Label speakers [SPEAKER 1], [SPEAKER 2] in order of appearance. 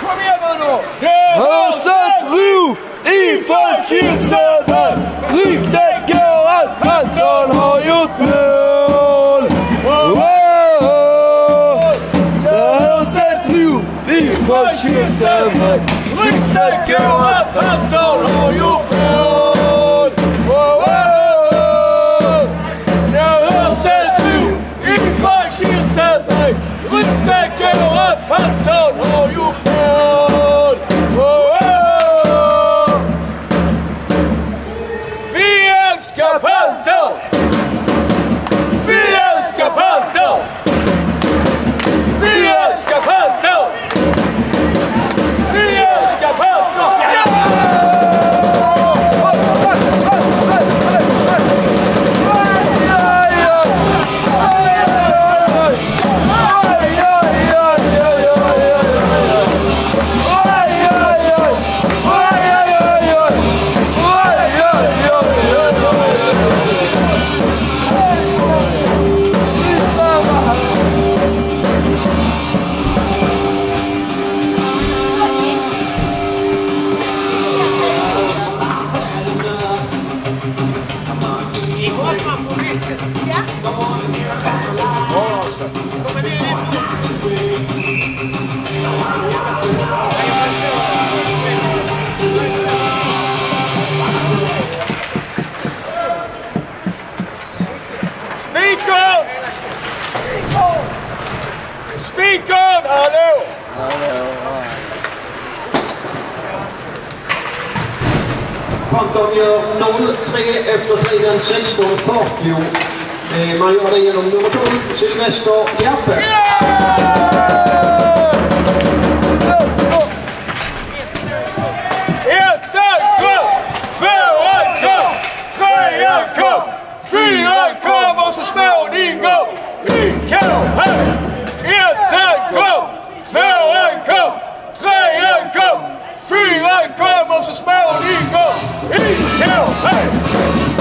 [SPEAKER 1] Combien, Mano Devant
[SPEAKER 2] On se trouve, il faut qu'il se donne. Riktigt gået, Anton har gjort mål. Wow! On se trouve, il faut qu'il se donne. Riktigt gået, Anton har gjort mål. Wow! On se trouve, il faut qu'il se donne. Riktigt gået, Anton har gjort mål. Wow! Vi älskar Panton! Vi älskar Panton! Vi älskar Panton! Vi älskar Panton!
[SPEAKER 1] Speak up! Speak up! Hallå!
[SPEAKER 3] Anton gör 0-3 efter tiden 16.40. Eh, Man gör det genom nummer 12, Sylvester Jappe.
[SPEAKER 1] Ettan kom! Tvåan kom! Trean kom! Fyran kom och så småningom IKP! Ettan kom! Tvåan kom! Trean kom! Fyran kom och så småningom IKP!